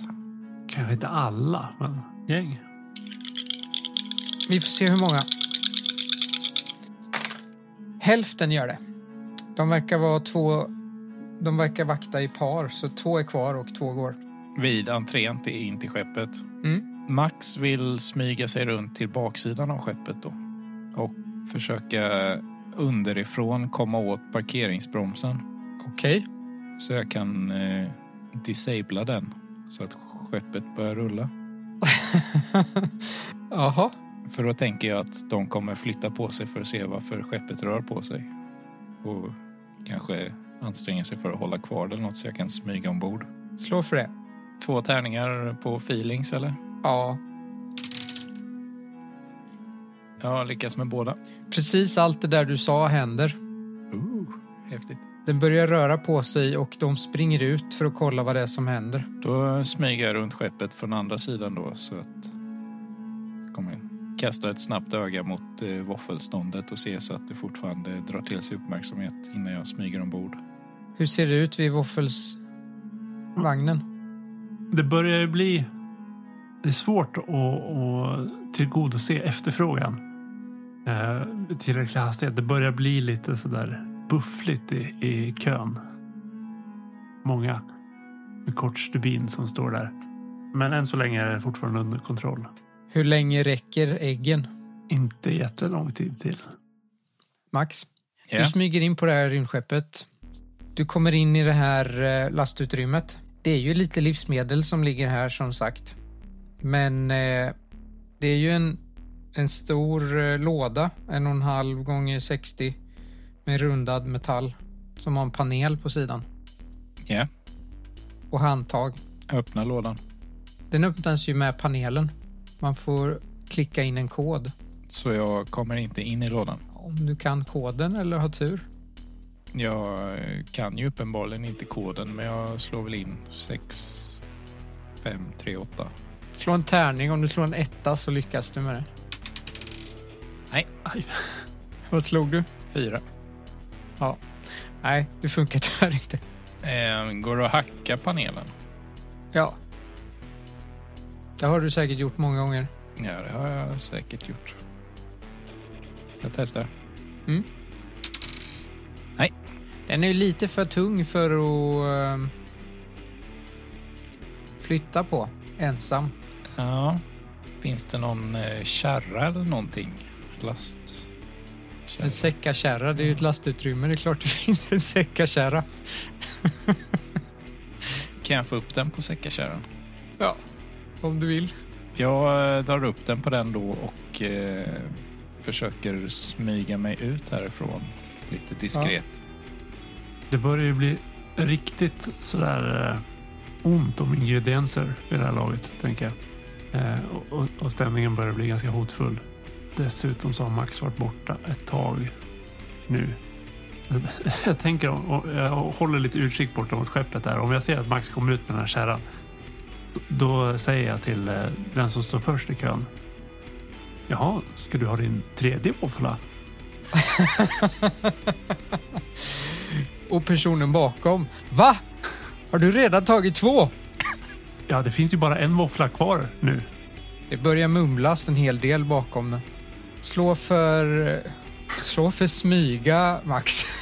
C: Kanske inte alla, men gäng.
B: Vi får se hur många. Hälften gör det. De verkar vara två... De verkar vakta i par, så två är kvar och två går.
A: vid entrén till, in till skeppet.
B: Mm.
A: Max vill smyga sig runt till baksidan av skeppet då och försöka underifrån komma åt parkeringsbromsen
B: Okej.
A: så jag kan eh, disabla den så att skeppet börjar rulla.
B: Jaha.
A: För då tänker jag att de kommer flytta på sig för att se varför skeppet rör på sig och kanske anstränga sig för att hålla kvar det eller något så jag kan smyga ombord.
B: Slå för det.
A: Två tärningar på feelings eller?
B: Ja.
A: Ja, lyckas med båda.
B: Precis allt det där du sa händer.
A: Ooh, häftigt.
B: Den börjar röra på sig och de springer ut för att kolla vad det är som händer.
A: Då smyger jag runt skeppet från andra sidan då så att... Kom in. Kastar ett snabbt öga mot eh, våffelståndet och ser så att det fortfarande drar till sig uppmärksamhet innan jag smyger ombord.
B: Hur ser det ut vid våffelsvagnen?
C: Det börjar ju bli det är svårt att, att tillgodose efterfrågan eh, i tillräcklig hastighet. Det börjar bli lite sådär buffligt i, i kön. Många med kort stubin som står där. Men än så länge är det fortfarande under kontroll.
B: Hur länge räcker äggen?
C: Inte jättelång tid till.
B: Max?
A: Ja.
B: Du smyger in på det här rymdskeppet. Du kommer in i det här eh, lastutrymmet. Det är ju lite livsmedel som ligger här som sagt. Men eh, det är ju en, en stor eh, låda, en och en halv gånger 60 med rundad metall som har en panel på sidan
A: ja,
B: och handtag.
A: öppna lådan.
B: Den öppnas ju med panelen. Man får klicka in en kod.
A: Så jag kommer inte in i lådan.
B: Om du kan koden eller har tur.
A: Jag eh, kan ju uppenbarligen inte koden men jag slår väl in 6, 5, 3, 8.
B: Slå en tärning. Om du slår en etta så lyckas du med det.
C: Aj,
B: Vad slog du?
A: 4.
B: Nej, det funkar tyvärr inte.
A: Eh, går det att hacka panelen?
B: Ja. Det har du säkert gjort många gånger.
A: Ja, det har jag säkert gjort. Jag testar.
B: Den är ju lite för tung för att ehm, flytta på ensam.
A: Ja. Finns det någon eh, kärra eller någonting? Last? Kärra.
B: En säckakärra, det är ju ett lastutrymme. Det är klart det finns en säckakärra.
A: Kan jag få upp den på säckakärran?
B: Ja, om du vill.
A: Jag eh, drar upp den på den då och eh, försöker smyga mig ut härifrån lite diskret.
C: Det börjar ju bli riktigt sådär eh, ont om ingredienser i det här laget, tänker jag. Eh, och- och, och stämningen börjar bli ganska hotfull. Dessutom så har Max varit borta ett tag nu. Jag tänker, om- och jag håller lite utkik borta mot skeppet där. Om jag ser att Max kommer ut med den här kärran, då säger jag till eh, den som står först i kön. Jaha, ska du ha din tredje våffla?
B: Och personen bakom. Va? Har du redan tagit två?
C: Ja, det finns ju bara en våffla kvar nu.
B: Det börjar mumlas en hel del bakom den. Slå för... Slå för smyga, Max.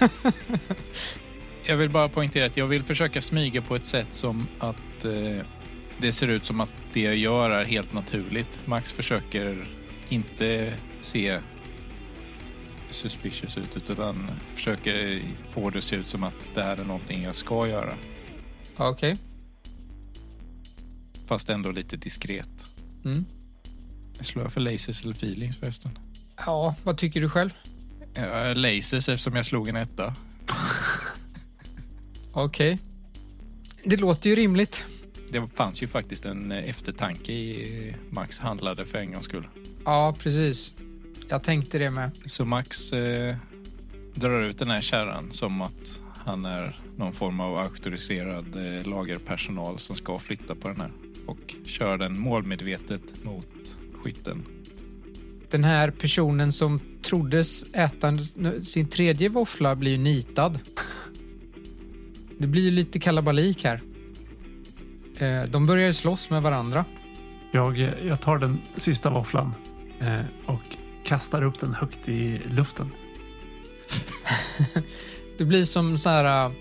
A: Jag vill bara poängtera att jag vill försöka smyga på ett sätt som att eh, det ser ut som att det jag gör är helt naturligt. Max försöker inte se suspicious ut utan försöker få det att se ut som att det här är någonting jag ska göra.
B: Okej.
A: Fast ändå lite diskret.
B: Mm.
A: Slår jag för lasers eller feelings förresten?
B: Ja, vad tycker du själv?
A: Eh, Lasers eftersom jag slog en etta.
B: Okej. Det låter ju rimligt.
A: Det fanns ju faktiskt en eh, eftertanke i Max handlade för en gångs skull.
B: Ja, precis. Jag tänkte det med.
A: Så Max eh, drar ut den här kärran som att han är någon form av auktoriserad eh, lagerpersonal som ska flytta på den här och kör den målmedvetet mot skytten.
B: Den här personen som troddes äta n- sin tredje våffla blir ju nitad. Det blir ju lite kalabalik här. Eh, De börjar ju slåss med varandra.
C: Jag, jag tar den sista våfflan eh, och kastar upp den högt i luften.
B: Det blir som så här eh,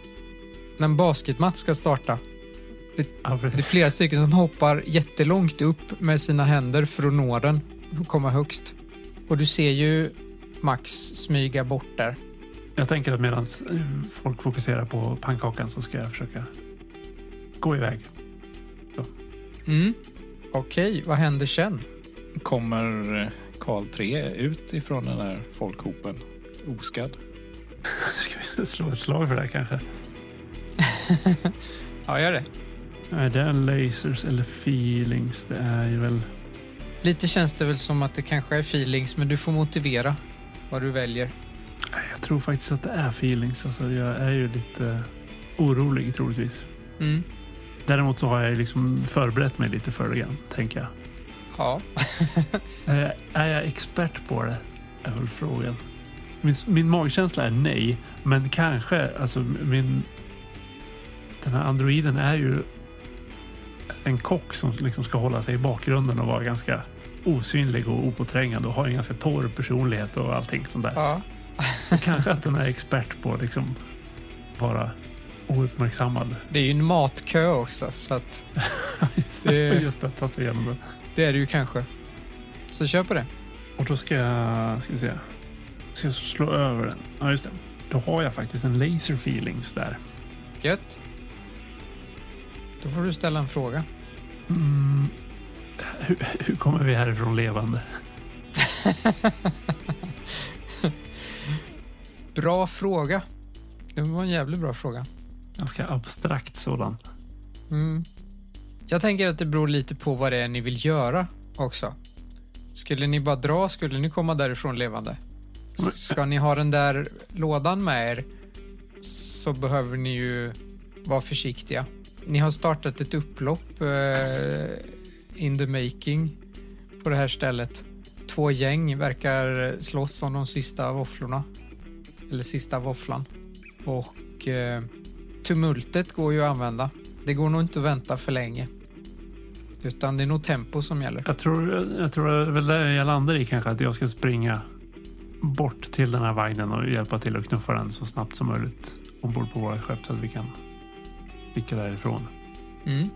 B: när en basketmatch ska starta.
C: Ja,
B: Det är
C: precis.
B: flera stycken som hoppar jättelångt upp med sina händer för att nå den och komma högst. Och du ser ju Max smyga bort där.
C: Jag tänker att medan folk fokuserar på pannkakan så ska jag försöka gå iväg.
B: Mm. Okej, vad händer sen?
A: Kommer eh, Karl 3 ut ifrån den här folkhopen oskadd?
C: Ska vi slå ett slag för det här kanske?
B: Ja, gör det.
C: Är det lasers eller feelings? Det är ju väl...
B: Lite känns det väl som att det kanske är feelings, men du får motivera vad du väljer.
C: Nej, Jag tror faktiskt att det är feelings. Alltså, jag är ju lite orolig troligtvis.
B: Mm.
C: Däremot så har jag ju liksom förberett mig lite för det grann, tänker jag.
B: Ja.
C: Eh, Är jag expert på det? Är väl frågan. Min, min magkänsla är nej, men kanske. Alltså min... Den här androiden är ju en kock som liksom ska hålla sig i bakgrunden och vara ganska osynlig och opåträngande och har en ganska torr personlighet och allting sånt där.
B: ja.
C: Kanske att den är expert på att liksom vara ouppmärksammad.
B: Det är ju en matkö också, så att Det-
C: Just att ta sig igenom det.
B: det är det ju kanske. Så kör på det.
C: Och då ska jag... Ska vi se. Ska jag slå över den? Ja, just det. Då har jag faktiskt en laser feelings där.
B: Gött. Då får du ställa en fråga.
C: Mm. Hur, hur kommer vi härifrån levande?
B: Bra fråga. Det var en jävligt bra fråga.
C: Ganska abstrakt sådan.
B: Mm. Jag tänker att det beror lite på vad det är ni vill göra också. Skulle ni bara dra, skulle ni komma därifrån levande? S- Ska ni ha den där lådan med er så behöver ni ju vara försiktiga. Ni har startat ett upplopp eh, in the making på det här stället. Två gäng verkar slåss om de sista våfflorna. Eller sista våfflan. Och eh, tumultet går ju att använda. Det går nog inte att vänta för länge. Utan det är nog tempo som gäller.
C: Jag tror, jag tror det är väl det jag landar i kanske. Att jag ska springa bort till den här vagnen och hjälpa till att knuffa den så snabbt som möjligt ombord på våra skepp så att vi kan sticka därifrån.
B: Mm.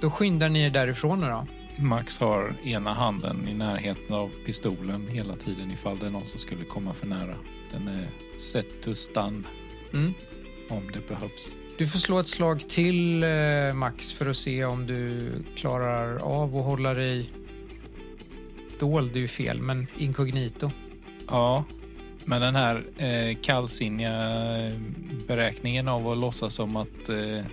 B: Då skyndar ni er därifrån nu då.
A: Max har ena handen i närheten av pistolen hela tiden ifall det är någon som skulle komma för nära. Den är set to stun
B: Mm.
A: om det behövs.
B: Du får slå ett slag till eh, Max för att se om du klarar av att hålla dig dold. Det är ju fel, men inkognito.
A: Ja, men den här eh, kallsinniga eh, beräkningen av att låtsas som att, eh,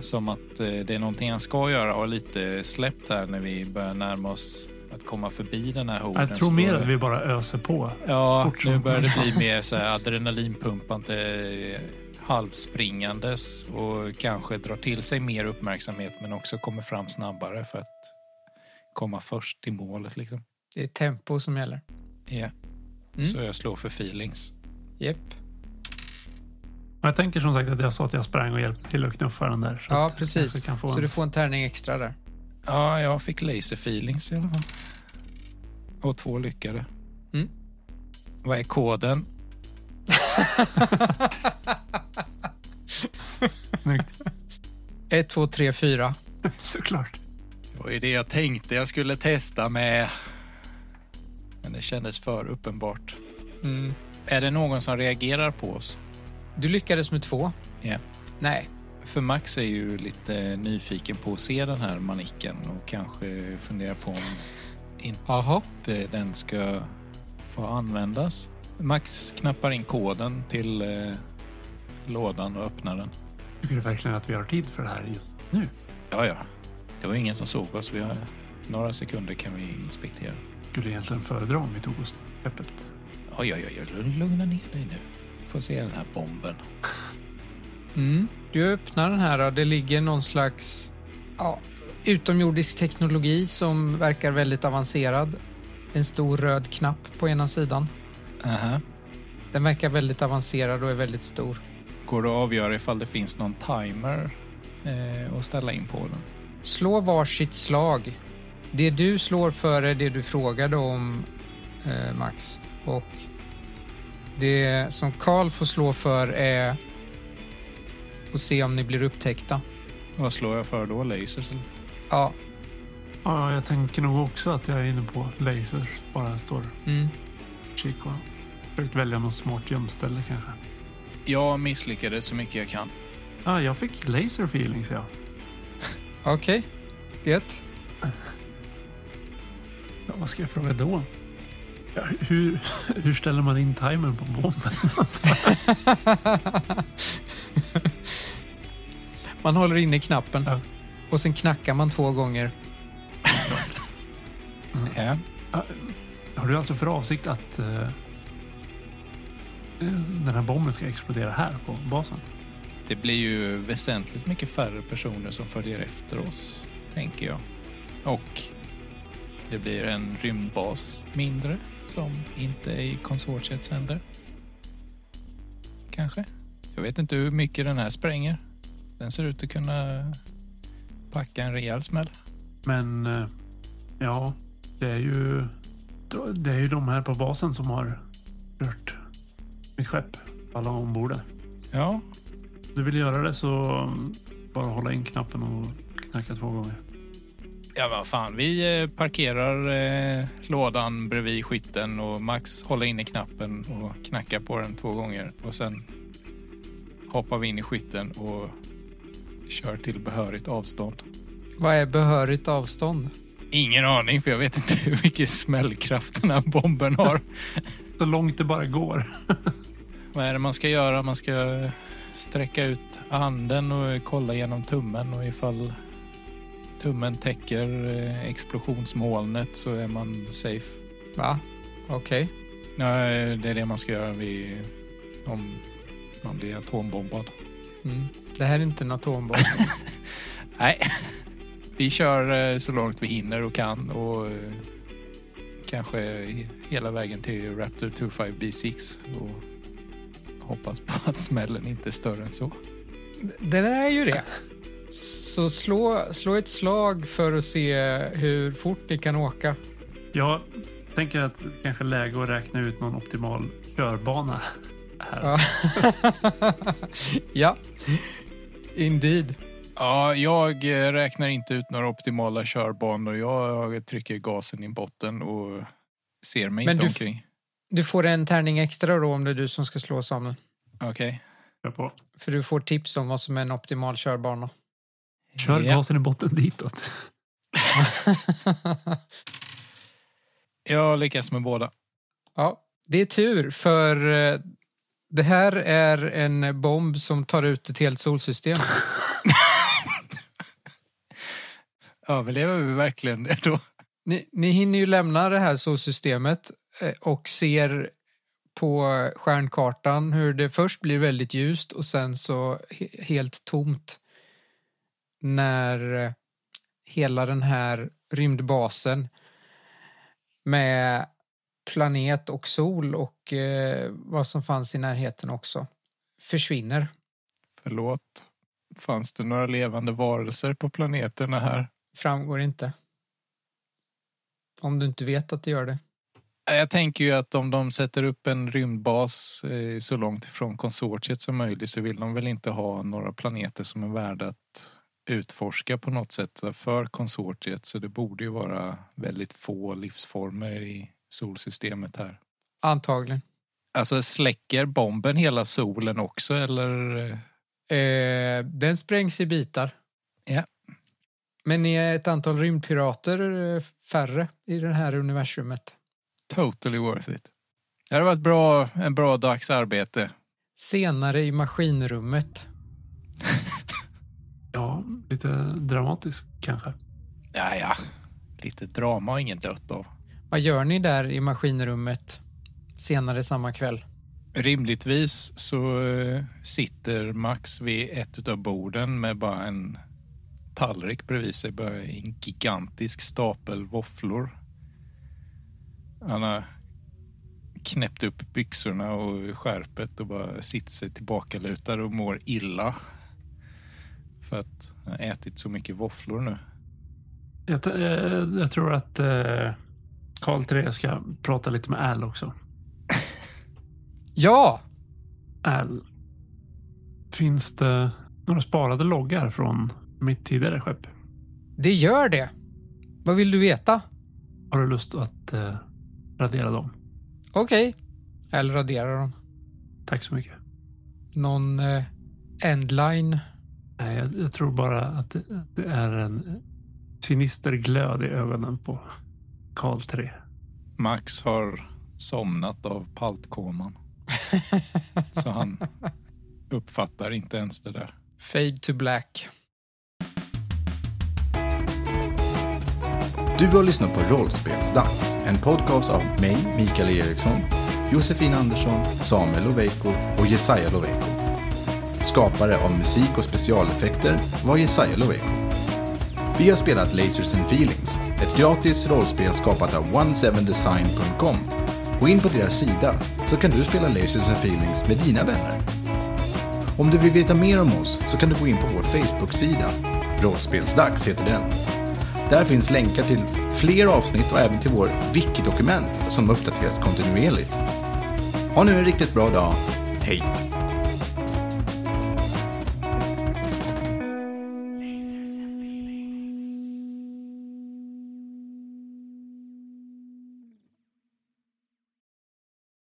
A: som att eh, det är någonting han ska göra har lite släppt här när vi börjar närma oss att komma förbi den här horden.
C: Jag tror
A: Så
C: mer
A: då-
C: att vi bara öser på.
A: Ja,
C: fort
A: nu
C: som-
A: börjar det bli mer så här adrenalinpumpande, eh, halvspringandes och kanske drar till sig mer uppmärksamhet men också kommer fram snabbare för att komma först till målet. Liksom.
B: Det är tempo som gäller.
A: Ja.
B: Mm.
A: Så jag slår för feelings.
B: Yep.
C: Och jag tänker som sagt att jag sa att jag sprang och hjälpte till att knuffa den där. Så
B: Ja,
C: att jag
B: precis.
C: kanske Kan få
B: Så
C: en...
B: du får en tärning extra där.
A: Ja, jag fick laser feelings i alla fall. Och två lyckade.
B: Mm.
A: Vad är koden?
C: Snyggt.
B: 1, 2, 3, 4.
C: Såklart.
A: Det var ju det jag tänkte jag skulle testa med. Men det kändes för uppenbart.
B: Mm.
A: Är det någon som reagerar på oss?
B: Du lyckades med två.
A: Ja.
B: Nej.
A: För Max är ju lite nyfiken på att se den här manicken och kanske fundera på om
B: Jaha.
A: inte den ska få användas. Max knappar in koden till eh, lådan och öppnar den.
C: Tycker du verkligen att vi har tid för det här just nu?
A: Ja, ja. Det var ingen som såg oss. Vi har några sekunder kan vi inspektera.
C: Skulle egentligen föredra om vi tog oss öppet.
A: Oj, oj, oj, lugn- lugna ner dig nu. Får se den här bomben.
B: Mm. Du öppnar den här och det ligger någon slags ja, utomjordisk teknologi som verkar väldigt avancerad. En stor röd knapp på ena sidan.
A: Aha.
B: Den verkar väldigt avancerad och är väldigt stor.
A: Går det att avgöra ifall det finns någon timer eh, att ställa in på den?
B: Slå varsitt slag. Det du slår för är det du frågade om, eh, Max. Och det som Karl får slå för är att se om ni blir upptäckta.
A: Vad slår jag för då? Lasers? eller?
B: Ja,
C: Ja, jag tänker nog också att jag är inne på laser. Bara står
B: mm.
C: och kikar. Försökt välja något smart gömställe kanske.
A: Jag misslyckades så mycket jag kan.
C: Ja, Ah, jag fick laser feelings ja.
B: okej. Gött.
C: ja. Vad ska jag fråga då? Ja, hur, hur ställer man in timern på bomben?
B: Man håller inne knappen
C: Ja.
B: och sen knackar man två gånger.
A: Ja.
C: Ja, Har du alltså för avsikt att eh, eh, den här bomben ska explodera här på basen?
A: Det blir ju väsentligt mycket färre personer som följer efter oss, tänker jag. Och det blir en rymdbas mindre som inte är i konsortiets händer. Kanske. Jag vet inte hur mycket den här spränger. Den ser ut att kunna packa en rejäl smäll.
C: Men eh, ja, det är ju det är ju de här på basen som har rört mitt skepp. Alla ombord där.
A: Ja,
C: Om du vill göra det så mm, bara hålla in knappen och knacka två gånger.
A: Ja, vad fan. Vi eh, parkerar eh, lådan bredvid skiten och Max håller inne knappen och knackar på den två gånger. Och sen hoppar vi in i skytten och kör till behörigt avstånd.
B: Vad är behörigt avstånd?
A: Ingen aning, för jag vet inte hur mycket smällkraft den här bomben har.
C: Så långt det bara går.
A: vad är det man ska göra? Man ska sträcka ut handen och kolla genom tummen och ifall tummen täcker eh, explosionsmolnet så är man safe.
B: Va? Okej.
A: Nej, det är det man ska göra vid, om man blir atombombad.
B: Mm. Det här är inte en atombomb.
A: Nej. Vi kör eh, så långt vi hinner och kan och eh, kanske he- hela vägen till Raptor 25B6 och hoppas på att smällen inte är större än så.
B: Den är ju det. Så slå, slå ett slag för att se hur fort ni kan åka.
C: Jag tänker att det kanske är läge att räkna ut någon optimal körbana. Här.
B: Ja. ja. Indeed.
A: Ja, jag eh, räknar inte ut några optimala körbanor. Jag trycker gasen i botten och ser mig
B: Men
A: inte
B: du f-
A: omkring.
B: Du får en tärning extra då om det är du som ska slå Samuel.
A: Okej.
C: Kör, på.
B: För du får tips om vad som är en optimal körbana.
C: Kör
A: Ja.
C: gasen i botten ditåt.
A: Jag lyckas med båda.
B: Ja, det är tur för eh, det här är en bomb som tar ut ett helt solsystem.
A: Överlever vi verkligen det då?
B: Ni, ni hinner ju lämna det här solsystemet eh, och ser på stjärnkartan hur det först blir väldigt ljust och sen så he- helt tomt när eh, hela den här rymdbasen med planet och sol och eh, vad som fanns i närheten också försvinner.
A: Förlåt. Fanns det några levande varelser på planeterna här?
B: Framgår inte. Om du inte vet att det gör det.
A: Jag tänker ju att om de sätter upp en rymdbas eh, så långt ifrån konsortiet som möjligt så vill de väl inte ha några planeter som är värda att utforska på något sätt för konsortiet. Så det borde ju vara väldigt få livsformer i solsystemet här.
B: Antagligen.
A: Alltså släcker bomben hela solen också eller? eh,
B: Eh, den sprängs i bitar.
A: Ja.
B: Men ni är ett antal rymdpirater eh, färre i det här universumet.
A: Totally worth it. Det hade varit bra, en bra dags arbete.
B: Senare i maskinrummet.
C: Ja, lite dramatiskt kanske.
A: Ja, ja. Lite drama har ingen dött av.
B: Vad gör ni där i maskinrummet senare samma kväll?
A: Rimligtvis så eh, sitter Max vid ett av borden med bara en tallrik bredvid sig. Bara en gigantisk stapel våfflor. Han har knäppt upp byxorna och skärpet och bara sitter sig tillbakalutad och mår illa. För att han har ätit så mycket våfflor nu.
C: Jag, t- eh, jag tror att eh, Karl 3 ska prata lite med Al också.
B: Ja!
C: Al, finns det några sparade loggar från mitt tidigare skepp?
B: Det gör det. Vad vill du veta?
C: Har du lust att eh, radera dem?
B: Okej. Eller radera dem.
C: Tack så mycket.
B: Någon eh, endline.
C: Nej, jag, jag tror bara att det, det är en sinister glöd i ögonen på Karl 3.
A: Max har somnat av paltkoman. Så han uppfattar inte ens det där.
B: Fade to black.
F: Du har lyssnat på Rollspelsdags, en podcast av mig, Mikael Eriksson, Josefin Andersson, Samuel Loveiko och Jesaja Loveiko. Skapare av musik och specialeffekter var Jesaja Loveiko. Vi har spelat Lasers and Feelings, ett gratis rollspel skapat av 17design.com. Gå in på deras sida så kan du spela Lasers and Feelings med dina vänner. Om du vill veta mer om oss så kan du gå in på vår Facebook-sida. Rollspelsdags heter den. Där finns länkar till fler avsnitt och även till vår wiki-dokument som uppdateras kontinuerligt. Ha nu en riktigt bra dag. Hej!